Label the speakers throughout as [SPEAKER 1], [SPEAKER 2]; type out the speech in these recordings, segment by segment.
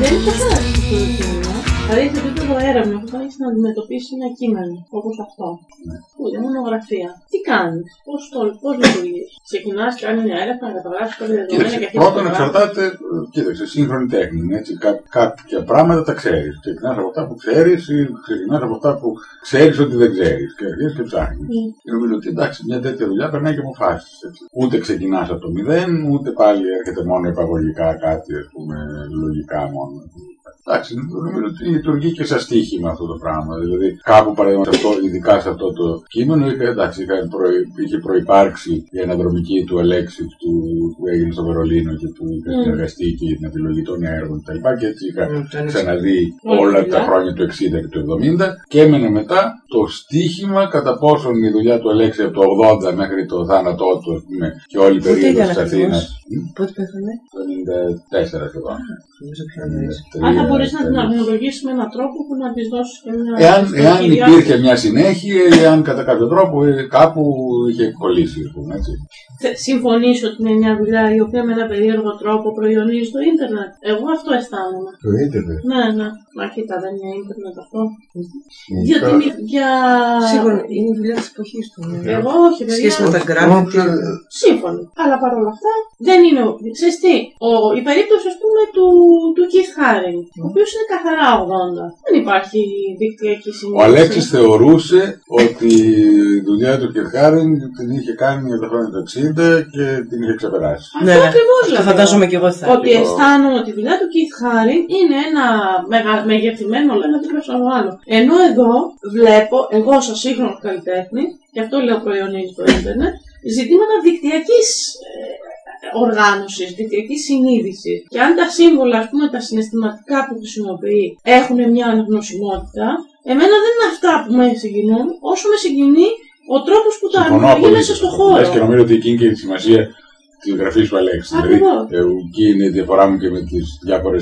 [SPEAKER 1] Δεν είναι καθαρά αυτό το κείμενο. Δηλαδή σε επίπεδο έρευνα, όταν έχει να αντιμετωπίσει ένα κείμενο όπω αυτό,
[SPEAKER 2] Ναι.
[SPEAKER 1] που είναι μονογραφία, τι κάνει, πώ πώς λειτουργεί. Ξεκινά, κάνει μια έρευνα, καταγράφει κάποια δεδομένα
[SPEAKER 2] Κοίταξε,
[SPEAKER 1] και αυτή
[SPEAKER 2] πρώτον εξαρτάται, ε, κοίταξε, σύγχρονη τέχνη. Έτσι, κά- κάποια πράγματα τα ξέρει. Ξεκινά από αυτά που ξέρει ή ξεκινά από αυτά που ξέρει ότι δεν ξέρει. Και αρχίζει και ψάχνει.
[SPEAKER 1] Μμμ.
[SPEAKER 2] Και νομίζω ότι εντάξει, μια τέτοια δουλειά περνάει και αποφάσει. Ούτε ξεκινά από το μηδέν, ούτε πάλι έρχεται μόνο υπαγωγικά κάτι, α πούμε, λογικά μόνο. Εντάξει, νομίζω ότι λειτουργεί και σαν στοίχημα αυτό το πράγμα. Δηλαδή, κάπου παραδείγματο αυτό, ειδικά σε αυτό το κείμενο, είχε, εντάξει, είχε, προϊ- είχε προϋπάρξει η αναδρομική του Αλέξη του, που έγινε στο Βερολίνο και που είχε
[SPEAKER 1] Mm.
[SPEAKER 2] συνεργαστεί και την επιλογή των έργων κτλ. Και έτσι είχα
[SPEAKER 3] Μμ, το είναι-
[SPEAKER 2] ξαναδεί
[SPEAKER 1] Όλη
[SPEAKER 2] όλα
[SPEAKER 1] δουλειά.
[SPEAKER 2] τα χρόνια του 60 και του 70 και έμενε μετά το στίχημα κατά πόσον η δουλειά του Αλέξη από το 80 μέχρι το θάνατό του ας πούμε, και όλη η
[SPEAKER 3] Πότε
[SPEAKER 2] περίοδος
[SPEAKER 3] ήταν
[SPEAKER 2] της
[SPEAKER 3] ακριβώς?
[SPEAKER 2] Αθήνας
[SPEAKER 3] Πότε πέθανε.
[SPEAKER 2] το 94 σχεδόν.
[SPEAKER 3] Νομίζω πιο νωρί.
[SPEAKER 1] Αν
[SPEAKER 2] Ε,
[SPEAKER 1] θα μπορείς να την αρμολογήσεις με έναν τρόπο που να της δώσεις και μια...
[SPEAKER 2] Εάν, εάν
[SPEAKER 1] ιστορική
[SPEAKER 2] υπήρχε
[SPEAKER 1] διάσταση.
[SPEAKER 2] μια συνέχεια, εάν κατά κάποιο τρόπο ε, κάπου είχε κολλήσει, ας πούμε, έτσι.
[SPEAKER 1] Θε- Συμφωνείς ότι είναι μια δουλειά η οποία με ένα περίεργο τρόπο προϊονίζει το ίντερνετ. Εγώ αυτό αισθάνομαι.
[SPEAKER 4] Το ίντερνετ.
[SPEAKER 1] Ναι, ναι. Μα κοίτα, δεν είναι ίντερνετ αυτό.
[SPEAKER 4] Γενικά,
[SPEAKER 1] Γιατί μι- για...
[SPEAKER 3] Σίγουρα είναι η δουλειά τη εποχή του. ναι.
[SPEAKER 1] Εγώ όχι, παιδιά.
[SPEAKER 3] Σχέση με τα
[SPEAKER 4] Όμως,
[SPEAKER 3] γκράφη.
[SPEAKER 4] ε,
[SPEAKER 1] Σύμφωνοι. Αλλά παρόλα αυτά δεν είναι. ο- Ξέρεις τι, ο, η περίπτωση ας πούμε του, του Keith Haring,
[SPEAKER 3] Ναι.
[SPEAKER 1] ο οποίο είναι καθαρά 80. Δεν υπάρχει δικτυακή
[SPEAKER 2] Ο
[SPEAKER 1] συνείδηση.
[SPEAKER 2] Αλέξης θεωρούσε ότι η δουλειά του Κερχάριν την είχε κάνει για τα χρόνια του 60 και την είχε ξεπεράσει.
[SPEAKER 1] Αυτό
[SPEAKER 3] Ναι, ναι.
[SPEAKER 1] ακριβώς
[SPEAKER 3] Αυτό
[SPEAKER 1] λέω.
[SPEAKER 3] φαντάζομαι και εγώ θα.
[SPEAKER 1] Ότι αισθάνομαι ότι η δουλειά του Keith Haring είναι ένα μεγα... μεγεθυμένο, λέμε δίπλα στο άλλο. Ενώ εδώ βλέπω, εγώ ως σύγχρονο καλλιτέχνη, γι' αυτό λέω προϊονίζει το ίντερνετ, ζητήματα ε, δικτυακή οργάνωση, δικτυακή συνείδηση. Και αν τα σύμβολα, α πούμε, τα συναισθηματικά που χρησιμοποιεί έχουν μια αναγνωσιμότητα, εμένα δεν είναι αυτά που με συγκινούν, όσο με συγκινεί ο τρόπο που τα αρμονίζει μέσα στο χώρο.
[SPEAKER 2] Λες και νομίζω ότι εκείνη και η σημασία τη γραφή του Αλέξη. Δηλαδή,
[SPEAKER 1] Ακριβώς.
[SPEAKER 2] ε, εκεί είναι η διαφορά μου και με τι διάφορε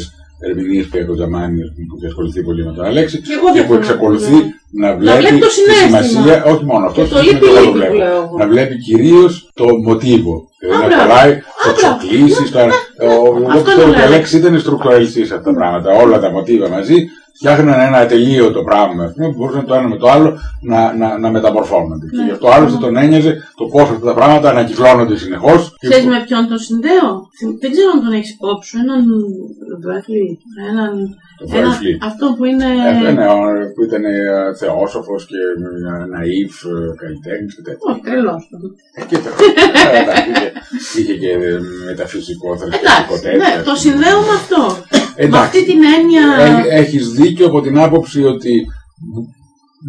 [SPEAKER 2] ερμηνείε που έχω τζαμάνι ας πούμε, που έχει ασχοληθεί πολύ με τον Αλέξη.
[SPEAKER 1] Και εγώ
[SPEAKER 2] και που
[SPEAKER 1] διαφωνώ.
[SPEAKER 2] εξακολουθεί να βλέπει,
[SPEAKER 1] βλέπει το
[SPEAKER 2] τη
[SPEAKER 1] συνέστημα.
[SPEAKER 2] σημασία, όχι μόνο αυτό,
[SPEAKER 1] Και το
[SPEAKER 2] σημαίνει
[SPEAKER 1] λείπει
[SPEAKER 2] εγώ το
[SPEAKER 1] λίγο που
[SPEAKER 2] βλέπω.
[SPEAKER 1] λέω εγώ.
[SPEAKER 2] να βλέπει κυρίω το μοτίβο. Δηλαδή να
[SPEAKER 1] μπράβο.
[SPEAKER 2] κολλάει το
[SPEAKER 1] Α, μπράβο.
[SPEAKER 2] ξοκλήσει. Το... ο- Εγώ
[SPEAKER 1] Αυτό
[SPEAKER 2] πιστεύω
[SPEAKER 1] είναι
[SPEAKER 2] ότι ο
[SPEAKER 1] ωραίο.
[SPEAKER 2] Αλέξη ήταν στρουκτουραλιστή αυτά τα πράγματα. Όλα τα μοτίβα μαζί φτιάχναν ένα ατελείωτο πράγμα ας πούμε, που μπορούσαν το ένα με το άλλο να, να, να μεταμορφώνονται. Και
[SPEAKER 1] Ναι.
[SPEAKER 2] γι' αυτό άλλωστε τον ένοιαζε το πώ αυτά τα πράγματα ανακυκλώνονται συνεχώ.
[SPEAKER 1] Ξέρεις με ποιον τον συνδέω. Θυμ- Δεν ξέρω αν τον έχει υπόψη σου. Έναν. Μπρέφλι. Έναν.
[SPEAKER 2] Το
[SPEAKER 1] έναν-
[SPEAKER 2] Bradley.
[SPEAKER 1] Αυτό που είναι.
[SPEAKER 2] ναι, ο- που ήταν θεόσοφο και ε, ναΐφ ε, καλλιτέχνη και τέτοια.
[SPEAKER 1] Όχι, τρελό.
[SPEAKER 2] Κοίτα, ε, εντάξει, είχε- είχε και ε, μεταφυσικό θρησκευτικό
[SPEAKER 1] Εντάξει,
[SPEAKER 2] τέτοιο.
[SPEAKER 1] ναι, το
[SPEAKER 2] ας πούμε.
[SPEAKER 1] συνδέω με αυτό. Με
[SPEAKER 2] Εντάξει. Ε,
[SPEAKER 1] αυτή την έννοια.
[SPEAKER 2] Έχει δίκιο από την άποψη ότι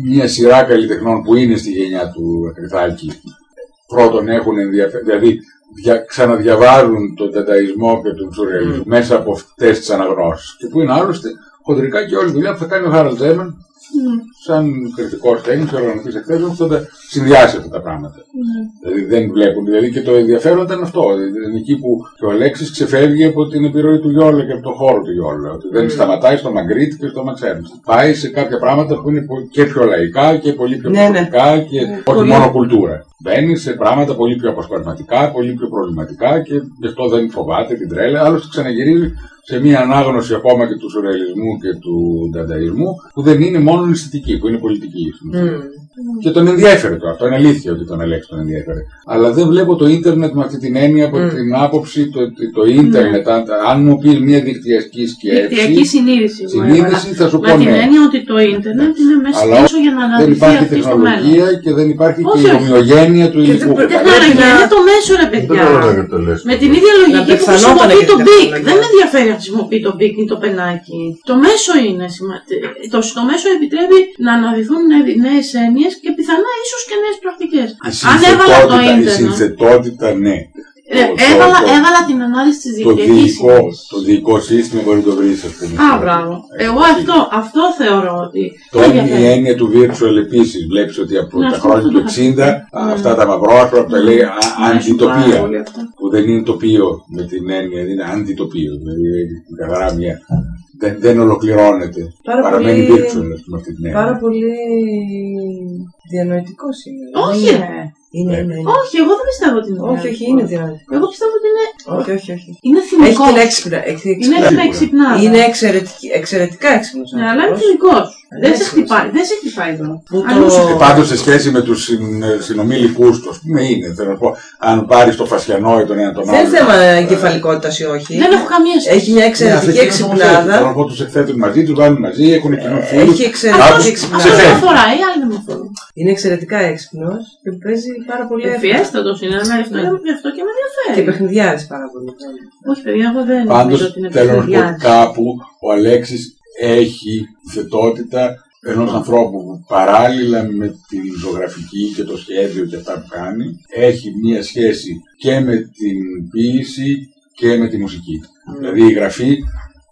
[SPEAKER 2] μια σειρά καλλιτεχνών που είναι στη γενιά του Κρυθάκη πρώτον έχουν ενδιαφέρον, δηλαδή δια, ξαναδιαβάζουν τον ταταϊσμό και τον σουρεαλισμό μέσα από αυτέ τι αναγνώσει. Και που είναι άλλωστε χοντρικά και όλη η δουλειά που θα κάνει ο Χάραλτ Ζέμεν
[SPEAKER 1] Ναι,
[SPEAKER 2] σαν κριτικό τέχνη και οργανωτή εκθέσεων που θα τα συνδυάσει αυτά τα πράγματα.
[SPEAKER 1] ναι.
[SPEAKER 2] Δηλαδή δεν βλέπουν. Δηλαδή και το ενδιαφέρον ήταν αυτό. Δηλαδή εκεί που και ο Αλέξη ξεφεύγει από την επιρροή του Γιώλα και από τον χώρο του Γιώλα. Ότι δεν
[SPEAKER 3] Mm.
[SPEAKER 2] σταματάει στο Μαγκρίτ και στο Μαξέρντ. Πάει σε κάποια πράγματα που είναι πο- και πιο λαϊκά και πολύ πιο
[SPEAKER 3] Ναι, ναι.
[SPEAKER 2] προσωπικά και
[SPEAKER 3] Ναι,
[SPEAKER 2] όχι
[SPEAKER 3] πολύ.
[SPEAKER 2] μόνο κουλτούρα. Μπαίνει σε πράγματα πολύ πιο αποσπασματικά, πολύ πιο προβληματικά και γι' αυτό δεν φοβάται την τρέλα. Άλλωστε ξαναγυρίζει σε μια ανάγνωση ακόμα και του σουρεαλισμού και του ντανταϊσμού που δεν είναι μόνο αισθητική, που είναι πολιτική. στην ουσία.
[SPEAKER 3] Μμ.
[SPEAKER 2] Και τον ενδιέφερε το αυτό. Είναι αλήθεια ότι τον Αλέξη τον ενδιέφερε. Αλλά δεν βλέπω το ίντερνετ με αυτή την έννοια από
[SPEAKER 3] Mm.
[SPEAKER 2] την άποψη το, ότι το ίντερνετ. Αν, αν μου πει μια δικτυακή
[SPEAKER 1] Δικτυακή
[SPEAKER 2] σκέψη,
[SPEAKER 1] συνείδηση. μου έβαλα.
[SPEAKER 2] συνείδηση θα σου
[SPEAKER 1] Με
[SPEAKER 2] πω
[SPEAKER 1] την
[SPEAKER 2] ναι.
[SPEAKER 1] έννοια ότι το ίντερνετ είναι μέσα
[SPEAKER 2] Αλλά
[SPEAKER 1] πίσω για να
[SPEAKER 2] Δεν
[SPEAKER 1] αναδειχθεί
[SPEAKER 2] υπάρχει
[SPEAKER 1] αυτή στο μέλλον.
[SPEAKER 2] τεχνολογία και δεν υπάρχει
[SPEAKER 1] Όχι,
[SPEAKER 2] και η
[SPEAKER 1] όχι.
[SPEAKER 2] ομοιογένεια του
[SPEAKER 3] δεν
[SPEAKER 2] υλικού.
[SPEAKER 3] πρέπει
[SPEAKER 1] Δεν
[SPEAKER 3] να-
[SPEAKER 1] χαρακτηρίζει το μέσο, ρε
[SPEAKER 4] Δεν καταλαβαίνω
[SPEAKER 1] παιδιά.
[SPEAKER 4] γιατί το λες.
[SPEAKER 1] Με την ίδια λογική που
[SPEAKER 3] πεθανόταν
[SPEAKER 1] χρησιμοποιεί
[SPEAKER 3] και
[SPEAKER 1] το
[SPEAKER 3] τα
[SPEAKER 1] μπικ.
[SPEAKER 3] φυλακιά.
[SPEAKER 1] Δεν με ενδιαφέρει αν χρησιμοποιεί το μπικ ή το πενάκι. Το μέσο είναι σημαντικό. Το, το μέσο επιτρέπει να αναδυθούν νέε έννοιε και πιθανά ίσω και νέε πρακτικέ.
[SPEAKER 2] Η
[SPEAKER 1] Αν έβαλα το
[SPEAKER 2] συνθετότητα- Η
[SPEAKER 1] ίντερνετ.
[SPEAKER 2] συνθετότητα, ναι.
[SPEAKER 1] Ρε,
[SPEAKER 2] το- το-
[SPEAKER 1] Έβαλα,
[SPEAKER 2] το-
[SPEAKER 1] έβαλα την ανάλυση τη
[SPEAKER 2] Το
[SPEAKER 1] δικτυακή.
[SPEAKER 2] διοικό, το διοικό σύστημα μπορεί να το βρει, α πούμε.
[SPEAKER 1] Α, μπράβο. Εγώ αυτό, αυτό θεωρώ ότι.
[SPEAKER 2] Το
[SPEAKER 1] δεν
[SPEAKER 2] η
[SPEAKER 1] ενδιαφέρει.
[SPEAKER 2] έννοια του virtual επίση. Βλέπει ότι από
[SPEAKER 1] Να
[SPEAKER 2] τα
[SPEAKER 1] σου Ναι. πω.
[SPEAKER 2] χρόνια του 60 αυτά τα μαυρόαφρα που τα λέει
[SPEAKER 1] Ναι.
[SPEAKER 2] α- αντιτοπία.
[SPEAKER 1] Όλοι αυτά.
[SPEAKER 2] που δεν είναι τοπίο με την έννοια, είναι αντιτοπίο. Δηλαδή είναι καθαρά μια. Δεν, δεν ολοκληρώνεται.
[SPEAKER 3] Πάρα
[SPEAKER 2] Παραμένει ναι.
[SPEAKER 3] πολύ-
[SPEAKER 2] virtual ας πούμε, αυτή την έννοια.
[SPEAKER 3] Πάρα πολύ διανοητικό είναι.
[SPEAKER 1] Όχι,
[SPEAKER 3] Δεν
[SPEAKER 1] ρε.
[SPEAKER 3] είναι-
[SPEAKER 2] Ναι.
[SPEAKER 3] Είναι, είναι, είναι.
[SPEAKER 1] Όχι, εγώ δεν πιστεύω ότι είναι
[SPEAKER 3] Όχι,
[SPEAKER 1] δυνατό.
[SPEAKER 3] όχι, είναι δυνατό.
[SPEAKER 1] Εγώ πιστεύω ότι είναι,
[SPEAKER 3] Όχι, όχι, όχι.
[SPEAKER 1] είναι
[SPEAKER 3] Έχει
[SPEAKER 1] θυμικό.
[SPEAKER 3] την έξυπνα. έχει την
[SPEAKER 1] Είναι
[SPEAKER 3] έξυπνα.
[SPEAKER 1] έξυπνα ξυπνάδα.
[SPEAKER 3] Είναι εξαιρετική, εξαιρετικά έξυπνο.
[SPEAKER 1] Ναι, αλλά είναι θυμικό. Δεν σε
[SPEAKER 3] έξυπνος.
[SPEAKER 1] χτυπάει, δεν σε χτυπάει εδώ.
[SPEAKER 3] Που
[SPEAKER 1] Αν
[SPEAKER 3] το-
[SPEAKER 1] είσαι-
[SPEAKER 2] Και πάντω σε σχέση με του συνομιλικού του, α πούμε, είναι. Θέλω να πω, αν πάρει το φασιανό ή τον ένα τον άλλο.
[SPEAKER 3] Δεν θέμα εγκεφαλικότητα ή όχι.
[SPEAKER 1] Δεν έχω καμία σχέση.
[SPEAKER 3] Έχει μια
[SPEAKER 2] Ναι,
[SPEAKER 3] εξαιρετική
[SPEAKER 2] αυτό είναι νομοθέτημα. Θέλω
[SPEAKER 3] εξυπνάδα.
[SPEAKER 2] να πω, του εκθέτουν μαζί, του βάλουν μαζί, έχουν
[SPEAKER 3] Ε,
[SPEAKER 2] κοινό φίλο.
[SPEAKER 3] Έχει
[SPEAKER 2] Άκουσε,
[SPEAKER 3] εξαιρετική
[SPEAKER 1] Αυτό
[SPEAKER 2] σε
[SPEAKER 3] εξυπνάδα.
[SPEAKER 2] θέλει.
[SPEAKER 1] δεν αφορά, η άλλη δεν με αφορά.
[SPEAKER 3] Είναι εξαιρετικά έξυπνο και παίζει πάρα
[SPEAKER 1] Ε,
[SPEAKER 3] πολύ εύκολα.
[SPEAKER 1] Ευφιέστατο είναι, αλλά γι' αυτό-
[SPEAKER 3] Ναι.
[SPEAKER 1] γι' αυτό και Ε, με
[SPEAKER 3] Και
[SPEAKER 1] ενδιαφέρει.
[SPEAKER 3] παιχνιδιάρη πάρα πολύ.
[SPEAKER 1] Όχι, παιδιά, εγώ δεν
[SPEAKER 2] Πάντω
[SPEAKER 1] νομίζω ότι είναι
[SPEAKER 2] θέλω να σου πω
[SPEAKER 1] παιχνιδιάρης.
[SPEAKER 2] κάπου ο Αλέξη έχει θετότητα ενό ανθρώπου που παράλληλα με την ζωγραφική και το σχέδιο και αυτά που κάνει έχει μία σχέση και με την ποίηση και με τη μουσική. Δηλαδή η γραφή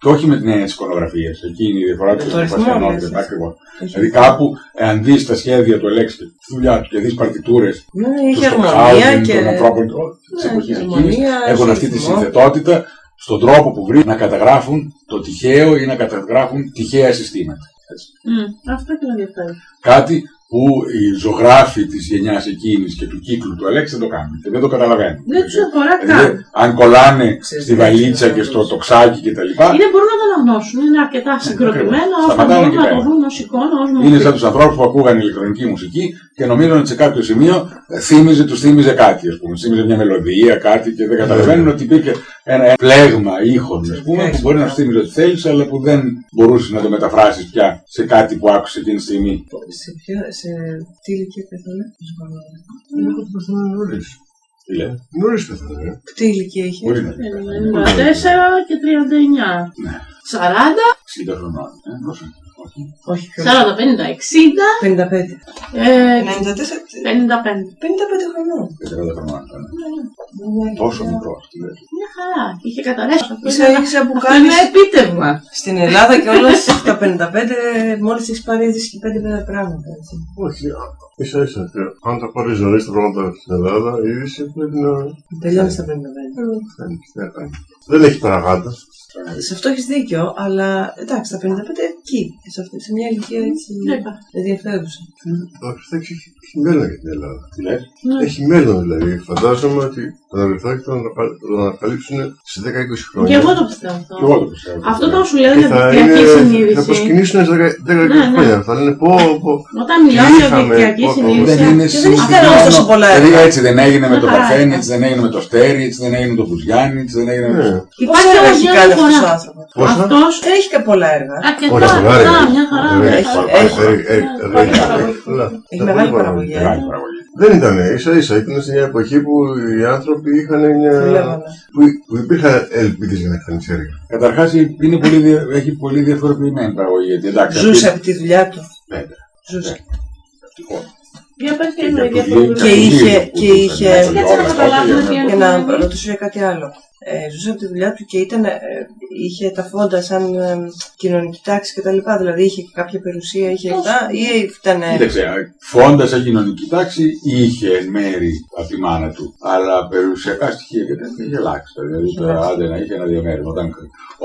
[SPEAKER 2] και όχι με την έννοια τη εικονογραφία. Εκείνη η διαφορά
[SPEAKER 3] Με
[SPEAKER 2] του
[SPEAKER 3] το ρυθμό,
[SPEAKER 2] Πασιανών
[SPEAKER 3] λες,
[SPEAKER 2] και τα
[SPEAKER 3] εσύ.
[SPEAKER 2] ακριβώς. Δηλαδή κάπου, εάν δει τα σχέδια του Αλέξη και τη δουλειά του και δει παρτιτούρε
[SPEAKER 3] Ναι,
[SPEAKER 2] του
[SPEAKER 3] έχει αρμονία
[SPEAKER 2] Στοκχάουζεν,
[SPEAKER 3] και.
[SPEAKER 2] των ανθρώπων τη
[SPEAKER 3] Ναι,
[SPEAKER 2] εποχή
[SPEAKER 3] έχει
[SPEAKER 2] εκείνη,
[SPEAKER 3] αρμονία,
[SPEAKER 2] έχουν
[SPEAKER 3] έχει
[SPEAKER 2] αυτή τη
[SPEAKER 3] ρυθμό.
[SPEAKER 2] συνθετότητα στον τρόπο που βρήκαν να καταγράφουν το τυχαίο ή να καταγράφουν τυχαία συστήματα. Έτσι.
[SPEAKER 1] Μμ, Αυτό και με ενδιαφέρει.
[SPEAKER 2] Κάτι που οι ζωγράφοι τη γενιά εκείνη και του κύκλου του Αλέξη δεν το κάνουν και δεν το καταλαβαίνουν.
[SPEAKER 1] Δεν του αφορά
[SPEAKER 2] Δηλαδή,
[SPEAKER 1] καν.
[SPEAKER 2] αν κολλάνε
[SPEAKER 3] Ξέρεις,
[SPEAKER 2] στη
[SPEAKER 3] δεν
[SPEAKER 2] βαλίτσα
[SPEAKER 3] ξέρω,
[SPEAKER 2] και στο
[SPEAKER 3] πώς.
[SPEAKER 2] τοξάκι κτλ.
[SPEAKER 1] Είναι μπορούν να το αναγνώσουν. Είναι
[SPEAKER 2] Ε,
[SPEAKER 1] αρκετά συγκροτημένα
[SPEAKER 2] ακριβώς.
[SPEAKER 1] ώστε να
[SPEAKER 2] Σταματάνε
[SPEAKER 1] μπορούν
[SPEAKER 2] εκεί
[SPEAKER 1] να
[SPEAKER 2] πέρα.
[SPEAKER 1] το δουν ω εικόνα, ω
[SPEAKER 2] Είναι
[SPEAKER 1] μορφή.
[SPEAKER 2] σαν του ανθρώπου που ακούγαν ηλεκτρονική μουσική και νομίζουν ότι σε κάποιο σημείο ε, θύμιζε, του θύμιζε κάτι, α πούμε. Θύμιζε μια μελωδία, κάτι και δεν καταλαβαίνουν ότι υπήρχε ένα πλέγμα ήχων, α πούμε, που μπορεί να σου θύμιζε ότι θέλει, αλλά που δεν μπορούσε να το μεταφράσει πια σε κάτι που άκουσε εκείνη τη στιγμή.
[SPEAKER 3] Σε ποια. Σε τι ηλικία πέθανε.
[SPEAKER 2] Τι λέει,
[SPEAKER 4] Νωρί πεθαίνω, ρε.
[SPEAKER 3] Τι ηλικία είχε.
[SPEAKER 2] Μπορεί να πει.
[SPEAKER 1] Είναι 94 και 39.
[SPEAKER 2] Ναι.
[SPEAKER 1] 40,
[SPEAKER 2] 60 χρονών. ε, όχι.
[SPEAKER 3] Όχι, πιο.
[SPEAKER 1] 40, 50, 60,
[SPEAKER 3] 55.
[SPEAKER 1] ε,
[SPEAKER 3] 94. 55
[SPEAKER 1] 55.
[SPEAKER 3] χρονών.
[SPEAKER 2] Όχι, 30 χρονών ήταν.
[SPEAKER 3] Ναι, ναι.
[SPEAKER 2] Τόσο μικρό. τι λέει.
[SPEAKER 1] Μια χαρά. Είχε καταρρεύσει. Αυτό
[SPEAKER 3] Ίσα
[SPEAKER 1] είναι-
[SPEAKER 3] ίσα που
[SPEAKER 1] αυτό είναι
[SPEAKER 3] κάνει
[SPEAKER 1] ένα επίτευγμα.
[SPEAKER 3] στην Ελλάδα και όλα τα 55 μόλι έχει πάρει είδηση και 5 πράγματα. έτσι.
[SPEAKER 4] Όχι, ίσα ίσα. Αν τα πάρει ζωή στα πράγματα στην Ελλάδα, η είδηση πρέπει να.
[SPEAKER 3] Τελειώνει στα 55.
[SPEAKER 1] Ναι.
[SPEAKER 4] κάνει, τι να κάνει. Δεν έχει παραγάντα.
[SPEAKER 3] Σε αυτό έχει δίκιο, αλλά εντάξει, τα 55 εκεί, σε, αυτή, σε μια ηλικία έτσι.
[SPEAKER 1] Ναι, πα.
[SPEAKER 3] ενδιαφέρουσα.
[SPEAKER 4] Το Αριστοτέλης έχει έχει μέλλον για την Ελλάδα.
[SPEAKER 2] Τι λε.
[SPEAKER 1] Ναι.
[SPEAKER 4] Έχει μέλλον δηλαδή. Φαντάζομαι ότι τα αδελφάκια θα ανα- θα το ανακαλύψουν σε 10-20
[SPEAKER 1] Και
[SPEAKER 4] χρόνια.
[SPEAKER 1] εγώ το πιστεύω αυτό.
[SPEAKER 2] Και εγώ το πιστεύω.
[SPEAKER 1] Αυτό όταν σου λέω
[SPEAKER 4] Και
[SPEAKER 1] για
[SPEAKER 4] θα,
[SPEAKER 1] την
[SPEAKER 4] είναι,
[SPEAKER 1] δικτυακή
[SPEAKER 4] θα
[SPEAKER 1] συνείδηση,
[SPEAKER 4] προσκυνήσουν σε 10-20
[SPEAKER 1] Ναι, ναι.
[SPEAKER 4] χρόνια. Θα λένε πω, πω.
[SPEAKER 1] όταν μιλάμε για
[SPEAKER 4] είχαμε,
[SPEAKER 1] δικτυακή
[SPEAKER 4] πω, πω,
[SPEAKER 1] συνείδηση,
[SPEAKER 2] Δεν
[SPEAKER 1] και
[SPEAKER 2] είναι
[SPEAKER 1] δεν έχει
[SPEAKER 2] συνηθισμένο.
[SPEAKER 1] κανένα
[SPEAKER 3] τόσο πολλά
[SPEAKER 2] Δηλαδή,
[SPEAKER 3] έργα.
[SPEAKER 2] Έτσι δεν έγινε με
[SPEAKER 1] Μια
[SPEAKER 2] το
[SPEAKER 1] χαρά
[SPEAKER 2] Παρθένη,
[SPEAKER 1] ήταν.
[SPEAKER 2] έτσι δεν έγινε με το Στέρι, έτσι δεν έγινε με τον Κουζιάννη, έτσι δεν έγινε με.
[SPEAKER 4] Ναι.
[SPEAKER 1] Υπάρχει
[SPEAKER 3] Πόσα
[SPEAKER 1] όμως
[SPEAKER 3] έχει
[SPEAKER 1] μια
[SPEAKER 3] κάνει αυτό ο
[SPEAKER 1] διαφορά.
[SPEAKER 3] άνθρωπο.
[SPEAKER 4] Πόσα?
[SPEAKER 1] Αυτός ε,
[SPEAKER 3] Έχει και πολλά έργα.
[SPEAKER 1] αρκετά.
[SPEAKER 4] Ωραία, πολλά έργα.
[SPEAKER 1] Α, μια χαρά.
[SPEAKER 4] Ωραία, Ε,
[SPEAKER 1] Έχει.
[SPEAKER 4] έχει
[SPEAKER 3] Έχει.
[SPEAKER 4] παρα- έχει- έχει- έχει-
[SPEAKER 1] Ναι,
[SPEAKER 4] έχει- έχει-
[SPEAKER 1] παραγωγή.
[SPEAKER 4] έχει- πολλά.
[SPEAKER 3] Έχει
[SPEAKER 4] Τα
[SPEAKER 3] μεγάλη
[SPEAKER 4] πολύ
[SPEAKER 3] παραγωγή.
[SPEAKER 2] Μεγάλη παραγωγή.
[SPEAKER 4] Δεν ήταν ίσα ίσα. Ήταν σε μια εποχή που οι άνθρωποι είχαν
[SPEAKER 2] Ε,
[SPEAKER 4] μια.
[SPEAKER 3] Δουλεύανε.
[SPEAKER 4] που, που υπήρχαν ελπίδε για να κάνει έργα.
[SPEAKER 2] Καταρχά είναι πολύ, δια- έχει πολύ διαφοροποιημένη παραγωγή. Γιατί εντάξει,
[SPEAKER 3] Ζούσε
[SPEAKER 2] αυτή-
[SPEAKER 3] από τη δουλειά του.
[SPEAKER 2] Βέβαια.
[SPEAKER 3] Ζούσε.
[SPEAKER 2] ευτυχώς.
[SPEAKER 1] Για πες και
[SPEAKER 2] Και
[SPEAKER 1] με
[SPEAKER 2] για το
[SPEAKER 1] διαφορετικά.
[SPEAKER 2] βιβλίο
[SPEAKER 3] Και είχε-
[SPEAKER 2] που
[SPEAKER 3] και
[SPEAKER 2] ζούσε,
[SPEAKER 3] είχε-
[SPEAKER 2] με τον
[SPEAKER 1] Κάτσε να
[SPEAKER 2] Γιώργο,
[SPEAKER 1] καταλάβουμε
[SPEAKER 2] για
[SPEAKER 1] τι
[SPEAKER 2] να-
[SPEAKER 3] Και να ρωτήσω για κάτι άλλο. Ε, ζούσε από τη δουλειά του και ήταν, ε, είχε τα φόντα σαν ε, κοινωνική τάξη κτλ. Δηλαδή είχε και κάποια περιουσία, είχε
[SPEAKER 1] Πώς?
[SPEAKER 3] αυτά, ή ήταν. ε,
[SPEAKER 2] Κοίταξε, φόντα σαν κοινωνική τάξη είχε εν μέρη από τη μάνα του. Αλλά περιουσιακά στοιχεία και τέτοια είχε αλλάξει. Δηλαδή τώρα άντε να είχε ένα διαμέρισμα. Όταν,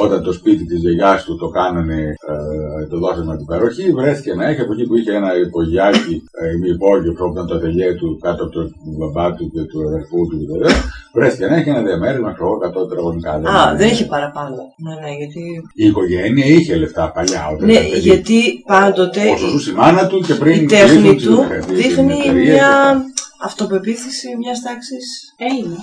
[SPEAKER 2] όταν το σπίτι τη γιαγιά του το κάνανε, ε, το δώσανε με την παροχή, βρέθηκε να έχει από εκεί που είχε ένα υπογειάκι, ε, μη υπόγειο που ήταν το ατελιέ του κάτω από το του μπαμπά του και του αδερφού του κτλ. Βρέθηκε να έχει ένα διαμέρισμα, ξέρω εγώ, 100 τετραγωνικά.
[SPEAKER 3] Α, δεν είχε παραπάνω. Ναι, ναι, γιατί.
[SPEAKER 2] Η οικογένεια είχε λεφτά παλιά. Όταν
[SPEAKER 3] Ναι,
[SPEAKER 2] ήταν παιδί.
[SPEAKER 3] γιατί πάντοτε
[SPEAKER 2] Όσο ζούσε η μάνα του και πριν
[SPEAKER 3] η τέχνη
[SPEAKER 2] κλείσουν
[SPEAKER 3] του
[SPEAKER 2] την εταιρεία, την
[SPEAKER 3] δείχνει
[SPEAKER 2] εταιρεία και αυτά.
[SPEAKER 3] μια αυτοπεποίθηση μια τάξη
[SPEAKER 1] Ε, είναι.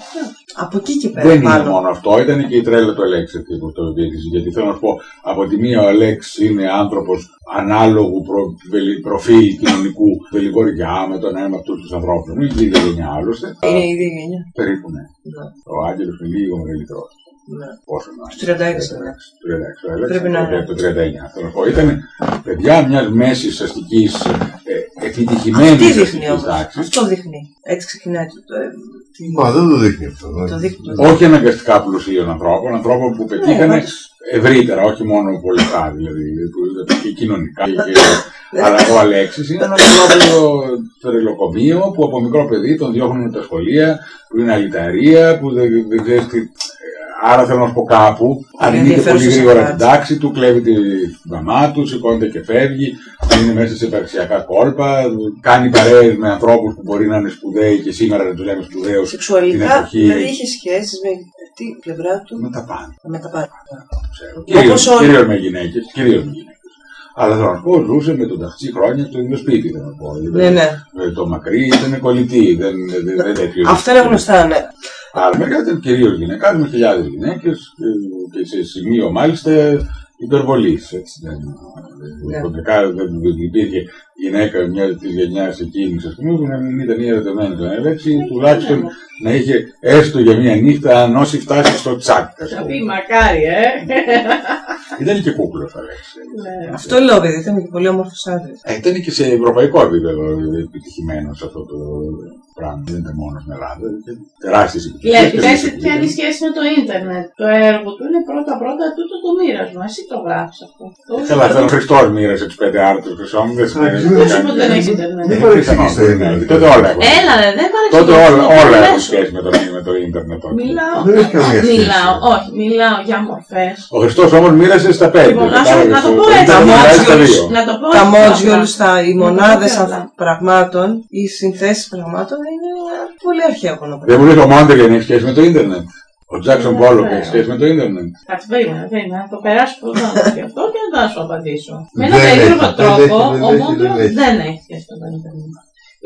[SPEAKER 3] από εκεί και πέρα.
[SPEAKER 2] Δεν είναι
[SPEAKER 3] πάνω.
[SPEAKER 2] μόνο αυτό, ήταν και η τρέλα του Αλέξη αυτή που το διέκρισε. Γιατί θέλω να σου πω, από τη μία ο Αλέξη είναι άνθρωπο ανάλογου προ, βελη- προφίλ κοινωνικού βελιγοριά με τον ένα από αυτού του ανθρώπου. Είναι η ίδια γενιά άλλωστε.
[SPEAKER 3] Είναι η ίδια γενιά.
[SPEAKER 2] Περίπου ναι.
[SPEAKER 3] Ναι,
[SPEAKER 2] Ο Άγγελο είναι λίγο μεγαλύτερο.
[SPEAKER 3] ναι.
[SPEAKER 2] Πόσο να
[SPEAKER 3] Στους 36.
[SPEAKER 2] 36, ο Αλέξης
[SPEAKER 3] Πρέπει να είναι.
[SPEAKER 2] από το 39. Θέλω να πω, ήταν παιδιά μια μέση αστική ε, επιτυχημένη
[SPEAKER 3] Τι δείχνει
[SPEAKER 2] αστική
[SPEAKER 3] όμω.
[SPEAKER 2] τάξη.
[SPEAKER 3] Αυτό δείχνει. Έτσι ξεκινάει το. το- ε, τη-
[SPEAKER 4] Μα δεν το δείχνει αυτό.
[SPEAKER 3] Το δείχνει.
[SPEAKER 2] Όχι αναγκαστικά πλουσίων ανθρώπων, ανθρώπων που πετύχανε
[SPEAKER 3] Ναι,
[SPEAKER 2] ευρύτερα, όχι μόνο πολιτικά δηλαδή, που- και κοινωνικά. και- Αλλά ο Αλέξη είναι ένα ολόκληρο τρελοκομείο που από μικρό παιδί τον διώχνουν από τα σχολεία, που είναι αλυταρία, που δεν, δεν ξέρει τι. Άρα θέλω να σου πω κάπου, αρνείται πολύ
[SPEAKER 3] ενδιαφέρουσα
[SPEAKER 2] γρήγορα
[SPEAKER 3] σε
[SPEAKER 2] την τάξη του, κλέβει τη μαμά του, σηκώνεται και φεύγει, είναι μέσα σε υπαρξιακά κόλπα, κάνει παρέες με ανθρώπους που μπορεί να είναι σπουδαίοι και σήμερα να του λέμε σπουδαίους την
[SPEAKER 3] Σεξουαλικά,
[SPEAKER 2] εποχή.
[SPEAKER 3] δηλαδή είχε σχέσει με την πλευρά του
[SPEAKER 2] Με τα πάντα.
[SPEAKER 3] με τα πάντα.
[SPEAKER 2] ξέρω.
[SPEAKER 3] Όπως
[SPEAKER 2] Κυρίως,
[SPEAKER 3] όλοι.
[SPEAKER 2] κυρίως με γυναίκες, κυρίως με γυναίκες. Αλλά θέλω να σου πω, ζούσε με τον ταξί χρόνια στο ίδιο σπίτι, θέλω να πω.
[SPEAKER 3] Ναι, ναι.
[SPEAKER 2] Ε, Το μακρύ ήταν κολλητή, δεν, δεν, δεν τέτοιο.
[SPEAKER 3] Αυτά είναι γνωστά, ναι.
[SPEAKER 2] Άρα μερικά ήταν κυρίω γυναικά, με χιλιάδε γυναίκε ε, και σε σημείο μάλιστα υπερβολή.
[SPEAKER 3] Ναι.
[SPEAKER 2] Κοντικά δεν δεν υπήρχε γυναίκα μια τη γενιά εκείνη, α πούμε, που να μην ήταν ή ερωτευμένη στον αέρα, έτσι,
[SPEAKER 3] Ναι,
[SPEAKER 2] τουλάχιστον να είχε έστω για μια νύχτα, αν όσοι φτάσει στο τσάκ. ας
[SPEAKER 1] Θα
[SPEAKER 2] πούμε.
[SPEAKER 1] πει μακάρι, ε.
[SPEAKER 2] Ήταν και κούκλο, θα
[SPEAKER 1] Ναι.
[SPEAKER 3] Αυτό λέω, παιδί, ήταν και πολύ όμορφο άντρα.
[SPEAKER 2] Ε, Ήταν και σε ευρωπαϊκό επίπεδο επιτυχημένο σε αυτό το πράγμα. Δεν ήταν μόνο στην Ελλάδα. Τεράστιε επιτυχίε.
[SPEAKER 1] Δηλαδή, πες τι πιάνει σχέση με το ίντερνετ. Το έργο του είναι πρώτα-πρώτα τούτο το μοίρασμα. Εσύ το γράφει αυτό.
[SPEAKER 2] Καλά, ήταν ο Χριστό μοίρασε του πέντε άρτρε χρυσό μου. Δεν σημαίνει ότι
[SPEAKER 1] Πόσο
[SPEAKER 2] ήταν-
[SPEAKER 1] που δεν έχει Ιντερνετ.
[SPEAKER 4] Μην παρεξηγείς το
[SPEAKER 2] Ναι,
[SPEAKER 4] ίντερνετ.
[SPEAKER 2] Τότε όλα έχουν.
[SPEAKER 1] Έλα, ρε, δεν παρεξηγείς.
[SPEAKER 2] Τότε όλα,
[SPEAKER 1] δεν
[SPEAKER 2] όλα έχουν
[SPEAKER 1] μέσω.
[SPEAKER 2] σχέση με το, με το ίντερνετ. τότε.
[SPEAKER 1] Μιλάω.
[SPEAKER 4] Δεν έχει καμία σχέση.
[SPEAKER 1] Μιλάω, όχι, μιλάω για μορφέ.
[SPEAKER 2] Ο Χριστό όμω μοίρασε στα πέντε.
[SPEAKER 1] Λοιπόν, να σου-
[SPEAKER 2] κατάλαβες,
[SPEAKER 1] να το πω
[SPEAKER 2] ο-
[SPEAKER 1] έτσι,
[SPEAKER 2] ήταν
[SPEAKER 3] τα
[SPEAKER 2] μοιράζει
[SPEAKER 3] μάτια
[SPEAKER 2] στα
[SPEAKER 3] τους.
[SPEAKER 2] δύο.
[SPEAKER 1] Να το πω
[SPEAKER 3] Τα
[SPEAKER 1] έτσι,
[SPEAKER 3] μόντζι,
[SPEAKER 1] απλά.
[SPEAKER 3] όλου τα, οι
[SPEAKER 1] Ναι,
[SPEAKER 3] μονάδε
[SPEAKER 1] καλά.
[SPEAKER 3] πραγμάτων, οι συνθέσει πραγμάτων είναι πολύ αρχαίο κονοπέδι.
[SPEAKER 2] Δεν μου λέει ο Μόντεγεν έχει σχέση με το ίντερνετ. Ο Τζάξον
[SPEAKER 1] Ναι,
[SPEAKER 2] Πόλοκ
[SPEAKER 1] βέβαια.
[SPEAKER 2] έχει σχέση με το ίντερνετ.
[SPEAKER 1] Κάτσε, περίμενε, περίμενε. Θα το περάσω πρώτα να το σκεφτώ και μετά να σου απαντήσω. Με ένα
[SPEAKER 4] Δεν
[SPEAKER 1] περίεργο
[SPEAKER 4] έχει, δεν
[SPEAKER 1] τρόπο,
[SPEAKER 4] έχει, δεν
[SPEAKER 1] ο
[SPEAKER 4] έχει,
[SPEAKER 1] Μόντρο
[SPEAKER 4] δεν έχει.
[SPEAKER 1] δεν έχει σχέση με τον Ιντερνετ.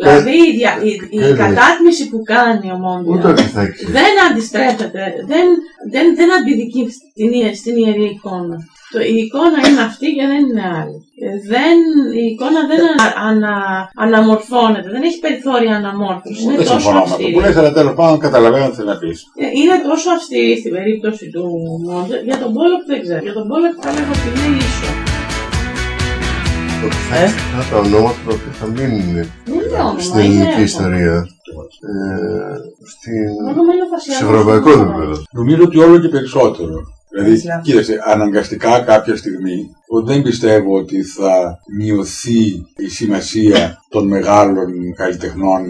[SPEAKER 1] Δηλαδή, η, δια, η, η
[SPEAKER 4] Δεν
[SPEAKER 1] κατάτμιση που κάνει ο Μόντρο
[SPEAKER 4] Ούτε δεν θα έχει.
[SPEAKER 1] δεν αντιστρέφεται, δεν, δεν, δεν αντιδικεί στην, ιε- στην ιερή εικόνα. Το, η εικόνα είναι αυτή και δεν είναι άλλη. Ε, Δεν, η εικόνα δεν ανα, ανα- αναμορφώνεται, δεν έχει περιθώρια αναμόρφωση. Είναι
[SPEAKER 2] Δεν
[SPEAKER 1] τόσο
[SPEAKER 2] συμφωνώ με αυτό
[SPEAKER 1] αυστηρή.
[SPEAKER 2] που λε, αλλά τέλο πάντων καταλαβαίνω τι θέλει να πει.
[SPEAKER 1] Ε, Είναι τόσο αυστηρή στην περίπτωση του Μόντερ. Για τον Πόλοκ δεν ξέρω. Για τον Πόλοκ θα λέγω ότι είναι ίσο.
[SPEAKER 4] Ότι θα
[SPEAKER 3] Ε.
[SPEAKER 4] έχεις αυτά τα ονόματα τα οποία θα
[SPEAKER 1] Δεν
[SPEAKER 4] μείνουν
[SPEAKER 1] είναι όνομα.
[SPEAKER 4] στην
[SPEAKER 1] Ε, είναι
[SPEAKER 4] ελληνική
[SPEAKER 1] έργο.
[SPEAKER 4] ιστορία. Ε, στην...
[SPEAKER 1] Όνομα είναι φασιανό.
[SPEAKER 4] Σε ευρωπαϊκό επίπεδο.
[SPEAKER 2] Νομίζω ότι όλο και περισσότερο. Δηλαδή,
[SPEAKER 3] Ισλάμ.
[SPEAKER 2] κοίταξε, αναγκαστικά κάποια στιγμή, ότι δεν πιστεύω ότι θα μειωθεί η σημασία των μεγάλων καλλιτεχνών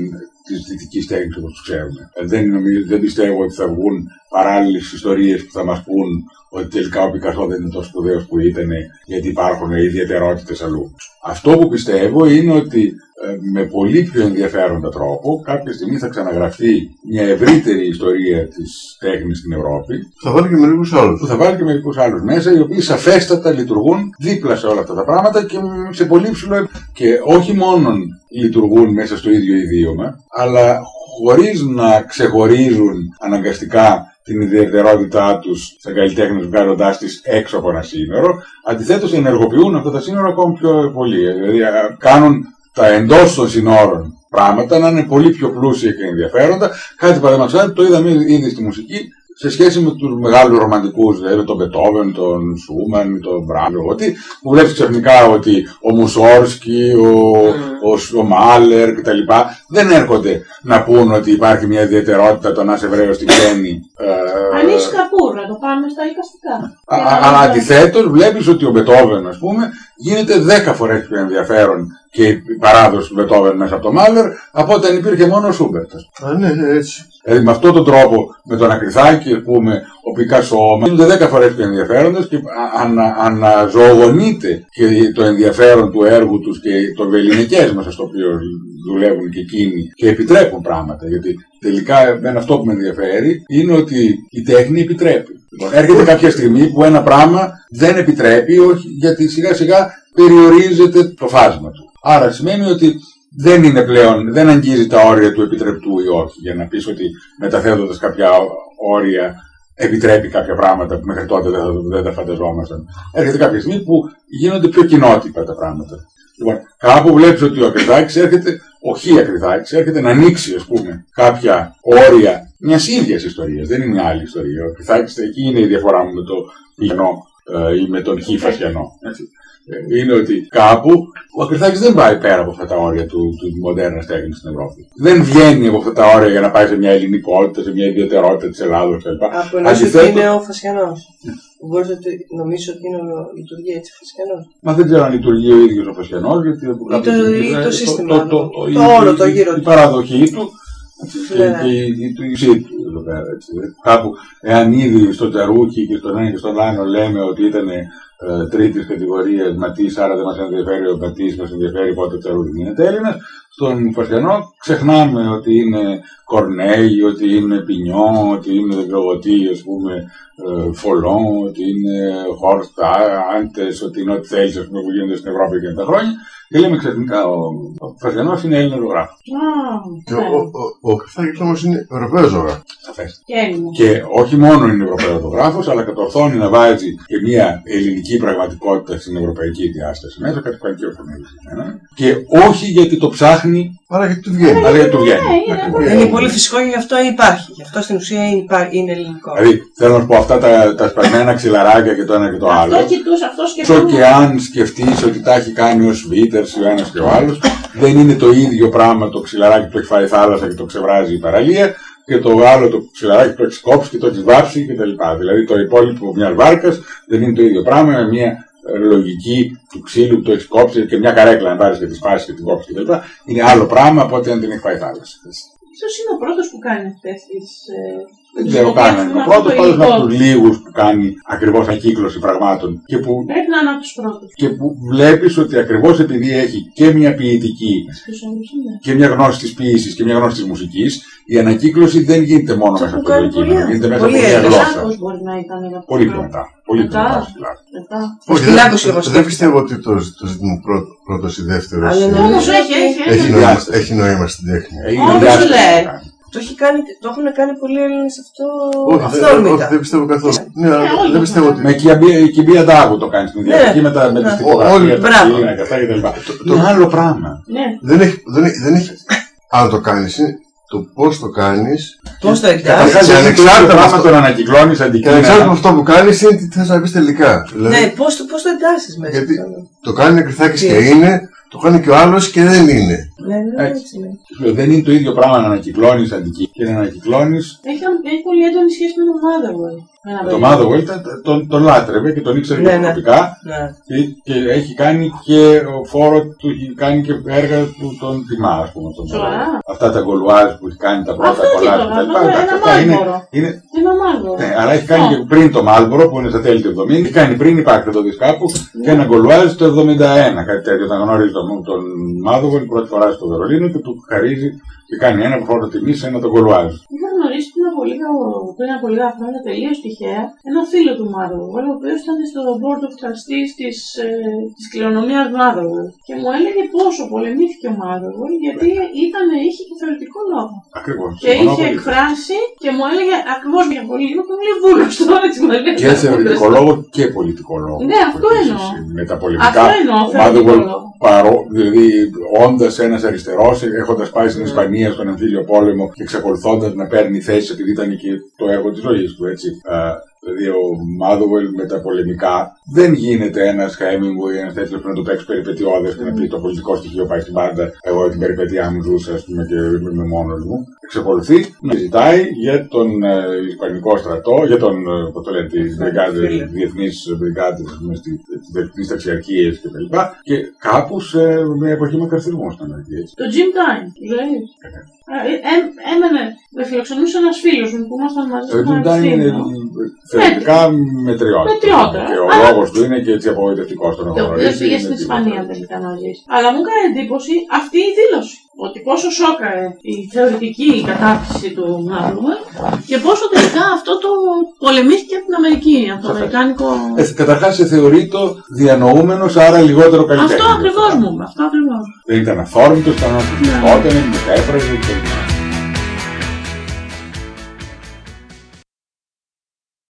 [SPEAKER 2] τη δυτική τέχνη όπω του ξέρουμε. Ε, Δεν, νομίζω, δεν πιστεύω ότι θα βγουν παράλληλε ιστορίε που θα μα πούν ότι τελικά ο Πικασό δεν είναι τόσο σπουδαίο που ήταν, γιατί υπάρχουν ιδιαιτερότητε αλλού. Αυτό που πιστεύω είναι ότι ε, με πολύ πιο ενδιαφέροντα τρόπο κάποια στιγμή θα ξαναγραφτεί μια ευρύτερη ιστορία της τέχνης στην Ευρώπη
[SPEAKER 4] Θα βάλω και μερικούς άλλους.
[SPEAKER 2] που θα βάλει και μερικού άλλου μέσα, οι οποίοι σαφέστατα λειτουργούν δίπλα σε όλα αυτά τα πράγματα και μ, σε πολύ ψηλό. επ- Και όχι μόνον λειτουργούν μέσα στο ίδιο ιδίωμα, αλλά χωρί να ξεχωρίζουν αναγκαστικά την ιδιαιτερότητά του σαν καλλιτέχνε βγάζοντά τι έξω από ένα σύνορο. Αντιθέτω, ενεργοποιούν αυτά τα σύνορα ακόμη πιο πολύ. Ε, Δηλαδή, α, κάνουν τα εντό των συνόρων πράγματα να είναι πολύ πιο πλούσια και ενδιαφέροντα. Κάτι παραδείγματο χάρη το είδαμε ήδη στη μουσική σε σχέση με του μεγάλου ρομαντικού, δηλαδή τον Μπετόβεν, τον Σούμαν, τον Μπράμπερ, ότι που βλέπει ξαφνικά ότι ο Μουσόρσκι, ο, ο, Σ- ο Μάλερ κτλ. δεν έρχονται να πούν ότι υπάρχει μια ιδιαιτερότητα το να είσαι Εβραίο στην Κέννη. ε,
[SPEAKER 1] Αν είσαι καπούρ, να το πάμε στα οικαστικά.
[SPEAKER 2] Α-
[SPEAKER 1] Για
[SPEAKER 2] α-
[SPEAKER 1] να
[SPEAKER 2] Αλλά
[SPEAKER 1] μην-
[SPEAKER 2] αντιθέτω, βλέπει ότι ο Μπετόβεν, α πούμε, γίνεται 10 φορέ πιο ενδιαφέρον και η παράδοση του Μπετόβεν μέσα από το Μάλερ από όταν υπήρχε μόνο ο Σούμπερτ.
[SPEAKER 4] Α, ναι, ναι, έτσι.
[SPEAKER 2] Δηλαδή με αυτόν τον τρόπο, με τον Ακριθάκη, α πούμε, ο Πικάσο, γίνονται 10 φορέ πιο ενδιαφέροντε και α- ανα, αναζωογονείται και το ενδιαφέρον του έργου του και των βεληνικέ μέσα στο οποίο δουλεύουν και εκείνοι και επιτρέπουν πράγματα. Γιατί τελικά εμένα αυτό που με ενδιαφέρει είναι ότι η τέχνη επιτρέπει. Λοιπόν, έρχεται κάποια στιγμή που ένα πράγμα δεν επιτρέπει, όχι, γιατί σιγά σιγά περιορίζεται το φάσμα του. Άρα σημαίνει ότι δεν είναι πλέον, δεν αγγίζει τα όρια του επιτρεπτού ή όχι. Για να πεις ότι μεταθέτοντας κάποια όρια επιτρέπει κάποια πράγματα που μέχρι τότε δεν, θα- δεν τα φανταζόμασταν. Έρχεται κάποια στιγμή που γίνονται πιο κοινότυπα τα πράγματα. Λοιπόν, κάπου βλέπεις ότι ο Ακριδάκης έρχεται, ο Χ Ακριδάκης έρχεται να ανοίξει, ας πούμε, κάποια όρια μια ίδια ιστορία. Δεν είναι άλλη ιστορία. Ο Ακριδάκης εκεί είναι η διαφορά μου με το Πηγενό ε, ή με τον Χ Φασιανό. έτσι. Ε, Είναι ότι κάπου ο Ακριθάκη δεν πάει πέρα από αυτά τα όρια του, του μοντέρνα τέχνη στην Ευρώπη. Δεν βγαίνει από αυτά τα όρια για να πάει σε μια ελληνικότητα, σε μια ιδιαιτερότητα τη Ελλάδο κλπ.
[SPEAKER 3] Από ενό
[SPEAKER 2] Αντιθέτω-
[SPEAKER 3] ότι είναι ο Φασιανό. Μπορείτε να νομίζετε ότι είναι ο λειτουργεί έτσι ο Φασιανό.
[SPEAKER 2] Μα δεν ξέρω αν λειτουργεί ο ίδιο ο Φασιανό, γιατί από
[SPEAKER 3] Ή το-
[SPEAKER 2] κάποια στιγμή
[SPEAKER 3] ή το
[SPEAKER 2] θα-
[SPEAKER 3] σύστημα,
[SPEAKER 2] το, το,
[SPEAKER 3] το
[SPEAKER 2] η-
[SPEAKER 3] όρο, το
[SPEAKER 2] η-
[SPEAKER 3] γύρο
[SPEAKER 2] Η
[SPEAKER 3] του.
[SPEAKER 2] παραδοχή του Και,
[SPEAKER 3] Ναι.
[SPEAKER 2] και, η- του ησύ του εδώ πέρα. Έτσι. Κάπου, εάν ήδη στο Τζαρούκι και στον ένα και στον άλλο λέμε ότι ήταν ε, τρίτη κατηγορία ματή, άρα δεν μα ενδιαφέρει ο ματή, μα ενδιαφέρει πότε ο Τζαρούκι γίνεται Έλληνα. Στον Φασιανό ξεχνάμε ότι είναι Κορνέι, ότι είναι Πινιό, ότι είναι δεν ξέρω εγώ τι, α πούμε, ε, Φολόν, ότι είναι Χόρστα, Άντε, ότι είναι ό,τι θέλει, α πούμε, που γίνεται στην Ευρώπη και τα χρόνια. Και λέμε ξαφνικά, ο, ο Φασιανό είναι Έλληνα ζωγράφο.
[SPEAKER 4] Και
[SPEAKER 1] Ναι.
[SPEAKER 4] ο, ο, ο, ο Χριστάκης όμως είναι Ευρωπαίος ζωγράφος.
[SPEAKER 2] Σαφέ.
[SPEAKER 1] Και Έλληνα.
[SPEAKER 2] Και όχι μόνο είναι Ευρωπαϊκογράφος, αλλά κατορθώνει να βάζει και μια ελληνική πραγματικότητα στην ευρωπαϊκή διάσταση μέσα, κάτι που κάνει και ο Φωνέλης για μένα. Και όχι γιατί το ψάχνει,
[SPEAKER 4] Άρα γιατί του βγαίνει.
[SPEAKER 2] αλλά γιατί το βγαίνει.
[SPEAKER 1] Ναι, είναι
[SPEAKER 2] Ακριβώς.
[SPEAKER 3] Είναι πολύ φυσικό και γι' αυτό υπάρχει. Γι' αυτό στην ουσία είναι, υπά- είναι ελληνικό.
[SPEAKER 2] Δηλαδή, θέλω να σου πω αυτά τα, τα σπασμένα ξυλαράκια και το ένα και το άλλο.
[SPEAKER 1] Αυτό κοιτούσε, αυτό
[SPEAKER 2] Όσο και
[SPEAKER 1] σκεφτόμουν.
[SPEAKER 2] αν σκεφτεί ότι τα έχει κάνει ο Σβίτερ ή ο ένα και ο άλλο, δεν είναι το ίδιο πράγμα το ξυλαράκι που το έχει φάει η θάλασσα και το ξεβράζει η παραλία και το άλλο το ξυλαράκι που το έχει κόψει και το έχει βάψει κτλ. Δηλαδή το υπόλοιπο μια βάρκα δεν είναι το ίδιο πράγμα με μια ε, λογική του ξύλου που το έχει κόψει και μια καρέκλα να πάρει και τη σπάσει και την κόψει κτλ. Είναι άλλο πράγμα από ότι αν την έχει φάει η θάλασσα.
[SPEAKER 1] Ποιος είναι ο πρώτος που κάνει αυτές τις... ε,
[SPEAKER 2] Δεν
[SPEAKER 1] τις
[SPEAKER 2] ξέρω καν αν είναι ο
[SPEAKER 1] δοκιμάσεις,
[SPEAKER 2] πρώτο,
[SPEAKER 1] αυτό το
[SPEAKER 2] πάντω είναι
[SPEAKER 1] υλικό.
[SPEAKER 2] από του λίγου που κάνει ακριβώ ανακύκλωση πραγμάτων και που
[SPEAKER 1] Πρέπει να είναι από τους πρώτους.
[SPEAKER 2] και που βλέπεις ότι ακριβώς επειδή έχει και μια ποιητική
[SPEAKER 1] Ποιος όμως είναι.
[SPEAKER 2] και μια γνώση της ποιήσης και μια γνώση της μουσικής, η ανακύκλωση δεν γίνεται μόνο
[SPEAKER 3] Το
[SPEAKER 2] μέσα από
[SPEAKER 3] έχουν
[SPEAKER 2] το
[SPEAKER 3] κάνει
[SPEAKER 2] αντικείμενο,
[SPEAKER 3] πολλοί
[SPEAKER 2] γίνεται μέσα από μια
[SPEAKER 3] άνθρωποι. Πολλοί
[SPEAKER 2] γλώσσα.
[SPEAKER 1] Λάκος μπορεί να ήταν ένα
[SPEAKER 2] Πολύ πιο
[SPEAKER 1] πρώτο.
[SPEAKER 2] μετά. Πολύ πιο
[SPEAKER 1] Μετά.
[SPEAKER 2] μετά. στη Λάρνακα.
[SPEAKER 1] Μετά.
[SPEAKER 4] Όχι,
[SPEAKER 3] Στην
[SPEAKER 4] δεν,
[SPEAKER 3] άκρη στο
[SPEAKER 4] δεν
[SPEAKER 3] Χριστάκη.
[SPEAKER 4] πιστεύω ότι το, το ζήτημα πρώτο, πρώτος ή δεύτερος
[SPEAKER 3] Αλλά
[SPEAKER 4] ε,
[SPEAKER 3] νομίζω
[SPEAKER 1] Όμως έχει, έχει,
[SPEAKER 4] έχει,
[SPEAKER 1] έχει.
[SPEAKER 4] νόημα,
[SPEAKER 2] διάσταση.
[SPEAKER 4] έχει νόημα στην τέχνη.
[SPEAKER 2] Έγινε
[SPEAKER 1] Όμως
[SPEAKER 2] διάσταση
[SPEAKER 1] λέει.
[SPEAKER 2] μετά.
[SPEAKER 3] Το, έχει κάνει, το έχουν κάνει πολλοί Έλληνε αυτό
[SPEAKER 4] Όχι, δεν, όχι,
[SPEAKER 3] αυθόρμητα.
[SPEAKER 4] δεν πιστεύω καθόλου. Ναι, αλλά
[SPEAKER 1] όλοι
[SPEAKER 4] δεν
[SPEAKER 1] το
[SPEAKER 4] πιστεύω ότι.
[SPEAKER 1] κάνουν.
[SPEAKER 2] Με κυμπία- κυμπία τάγου το κάνεις την
[SPEAKER 3] Ναι.
[SPEAKER 2] διαδική με τα με τις
[SPEAKER 3] Ναι.
[SPEAKER 2] τυπογραφίες,
[SPEAKER 4] Όλοι,
[SPEAKER 2] τα
[SPEAKER 3] μπράβο.
[SPEAKER 2] κείμενα και αυτά και τα λοιπά.
[SPEAKER 4] το-
[SPEAKER 2] Είναι άλλο πράγμα.
[SPEAKER 1] Ναι.
[SPEAKER 4] Δεν έχει. Δεν έχει, δεν έχει αν το κάνει, το πώ το κάνει.
[SPEAKER 3] Πώ το έχει κάνει.
[SPEAKER 2] Καταρχάς
[SPEAKER 4] και
[SPEAKER 2] δεν το
[SPEAKER 4] ανεξάρτητα από
[SPEAKER 2] πράγμα
[SPEAKER 4] αυτό-
[SPEAKER 2] τον ανακυκλώνεις
[SPEAKER 4] Και ανεξάρτητα από
[SPEAKER 2] αντικείμενα.
[SPEAKER 4] αυτό που κάνει, είναι τι θε να πει τελικά. Δηλαδή,
[SPEAKER 3] Ναι, πώ το, πώς το εντάσσει μέσα.
[SPEAKER 4] Γιατί-
[SPEAKER 3] στο άλλο.
[SPEAKER 4] το κάνει ο Κρυθάκης
[SPEAKER 3] Τι.
[SPEAKER 4] και είναι, το κάνει και ο άλλο και δεν είναι.
[SPEAKER 3] Ναι, ναι,
[SPEAKER 2] Έτσι.
[SPEAKER 3] έτσι είναι.
[SPEAKER 2] Δεν είναι το ίδιο πράγμα να ανακυκλώνεις αντικείμενα και να ανακυκλώνεις
[SPEAKER 1] Έχει, έχει πολύ έντονη σχέση με ε. το Motherwell. Ένα
[SPEAKER 2] Το
[SPEAKER 1] παιδί.
[SPEAKER 2] Motherwell τα- τα- τον, τον λάτρευε και τον ήξερε
[SPEAKER 3] Ναι,
[SPEAKER 2] και
[SPEAKER 3] ναι.
[SPEAKER 2] προσωπικά
[SPEAKER 3] Ναι.
[SPEAKER 2] και, και έχει κάνει και ο φόρο του, έχει κάνει και έργα του τον τιμά, ας πούμε. Τον
[SPEAKER 1] Σοβαρά.
[SPEAKER 2] Αυτά τα γκολουάζ που έχει κάνει τα πρώτα
[SPEAKER 1] Αυτό και
[SPEAKER 2] κολλάζ
[SPEAKER 1] τώρα,
[SPEAKER 2] κτλ.
[SPEAKER 1] αυτό είναι
[SPEAKER 2] Εντάξει,
[SPEAKER 1] ένα
[SPEAKER 2] αυτά είναι,
[SPEAKER 1] μάρμορο.
[SPEAKER 2] είναι,
[SPEAKER 1] Ένα Motherwell.
[SPEAKER 2] ναι, αλλά έχει κάνει
[SPEAKER 1] Αυτό.
[SPEAKER 2] και πριν το Μάλμπορο που είναι στα τέλη του 70, έχει κάνει πριν υπάρχει το δεις κάπου
[SPEAKER 1] Ναι.
[SPEAKER 2] και ένα γκολουάζ το 71, κάτι τέτοιο. Όταν γνώριζε τον, τον Μάδοβολ πρώτη φορά στο Βερολίνο και του χαρίζει και κάνει ένα φόρο τιμή σε ένα τον γκολουάζ.
[SPEAKER 1] Είχα γνωρίσει πριν από λίγα, πριν από λίγα χρόνια τελείω τυχαία ένα φίλο του Motherwell, ο οποίο ήταν στο board of trustees τη της κληρονομία Motherwell. Και μου έλεγε πόσο πολεμήθηκε ο Motherwell, γιατί ήταν, είχε και θεωρητικό λόγο.
[SPEAKER 2] Ακριβώς.
[SPEAKER 1] Και
[SPEAKER 2] Συμφωνώ
[SPEAKER 1] είχε
[SPEAKER 2] πολύ.
[SPEAKER 1] εκφράσει και μου έλεγε ακριβώ για πολύ λίγο και μου λέει βούλο τώρα έτσι μου έλεγε.
[SPEAKER 2] Και θεωρητικό λόγο και πολιτικό λόγο.
[SPEAKER 1] Ναι, αυτό
[SPEAKER 2] Επίσης,
[SPEAKER 1] εννοώ.
[SPEAKER 2] Με τα
[SPEAKER 1] Αυτό
[SPEAKER 2] πολιτικά.
[SPEAKER 1] εννοώ,
[SPEAKER 2] Ο
[SPEAKER 1] θεωρητικό
[SPEAKER 2] Μάδεγολ,
[SPEAKER 1] λόγο.
[SPEAKER 2] παρό, δηλαδή όντα ένα αριστερό, έχοντα πάει στην Ισπανία στον εμφύλιο πόλεμο και εξακολουθώντα να παίρνει θέση, επειδή ήταν και το έργο τη ζωή του, έτσι. Α, δηλαδή ο Μάδουελ με τα πολεμικά δεν γίνεται ένα Χέμιγκουι, ένα τέτοιο που να το παίξει περιπετειώδε και να πει το πολιτικό στοιχείο πάει στην πάντα. Εγώ την περιπέτειά μου ζούσα, α πούμε, και είμαι μόνο μου. Εξακολουθεί να ζητάει για τον ε, Ισπανικό στρατό, για τον, ε, πώς το λένε, τις
[SPEAKER 3] φίλε.
[SPEAKER 2] μπρικάδες, διεθνείς μπρικάδες, ας πούμε, στη- τις διεθνείς ταξιαρχίες και τα λοιπά, και κάπου σε μια εποχή με καρθυρμό στην Αμερική, έτσι.
[SPEAKER 1] Το Jim Time, δηλαδή. Έμενε, με φιλοξενούσε ένα φίλο μου που ήμασταν μαζί
[SPEAKER 2] Ο
[SPEAKER 1] στο
[SPEAKER 2] Τιντάν είναι
[SPEAKER 1] πανεπιστήμιο.
[SPEAKER 2] ε, θεωρητικά μετριότητα.
[SPEAKER 1] Ναι. Μετριότητα, ε.
[SPEAKER 2] Και ο
[SPEAKER 1] αλλά-
[SPEAKER 2] λόγος του είναι και έτσι απογοητευτικός τον
[SPEAKER 1] Το οποίο πήγε στην Ισπανία τελικά να ζήσει. Αλλά μου έκανε εντύπωση αυτή η δήλωση. Ότι πόσο σόκαρε η θεωρητική κατάρτιση του Μάρλουμα και πόσο τελικά αυτό το πολεμήθηκε από την Αμερική, από το
[SPEAKER 2] Σαφές. Ε,
[SPEAKER 1] Αμερικάνικο.
[SPEAKER 2] Καταρχά σε θεωρεί το διανοούμενος, άρα λιγότερο καλλιτέχνη.
[SPEAKER 1] Αυτό ακριβώ μου είπε. Αυτό ακριβώ.
[SPEAKER 2] Δεν ήταν αθόρμητος, ήταν ένας που
[SPEAKER 1] Ναι.
[SPEAKER 2] σκότωνε, μετέφραζε και τα λοιπά.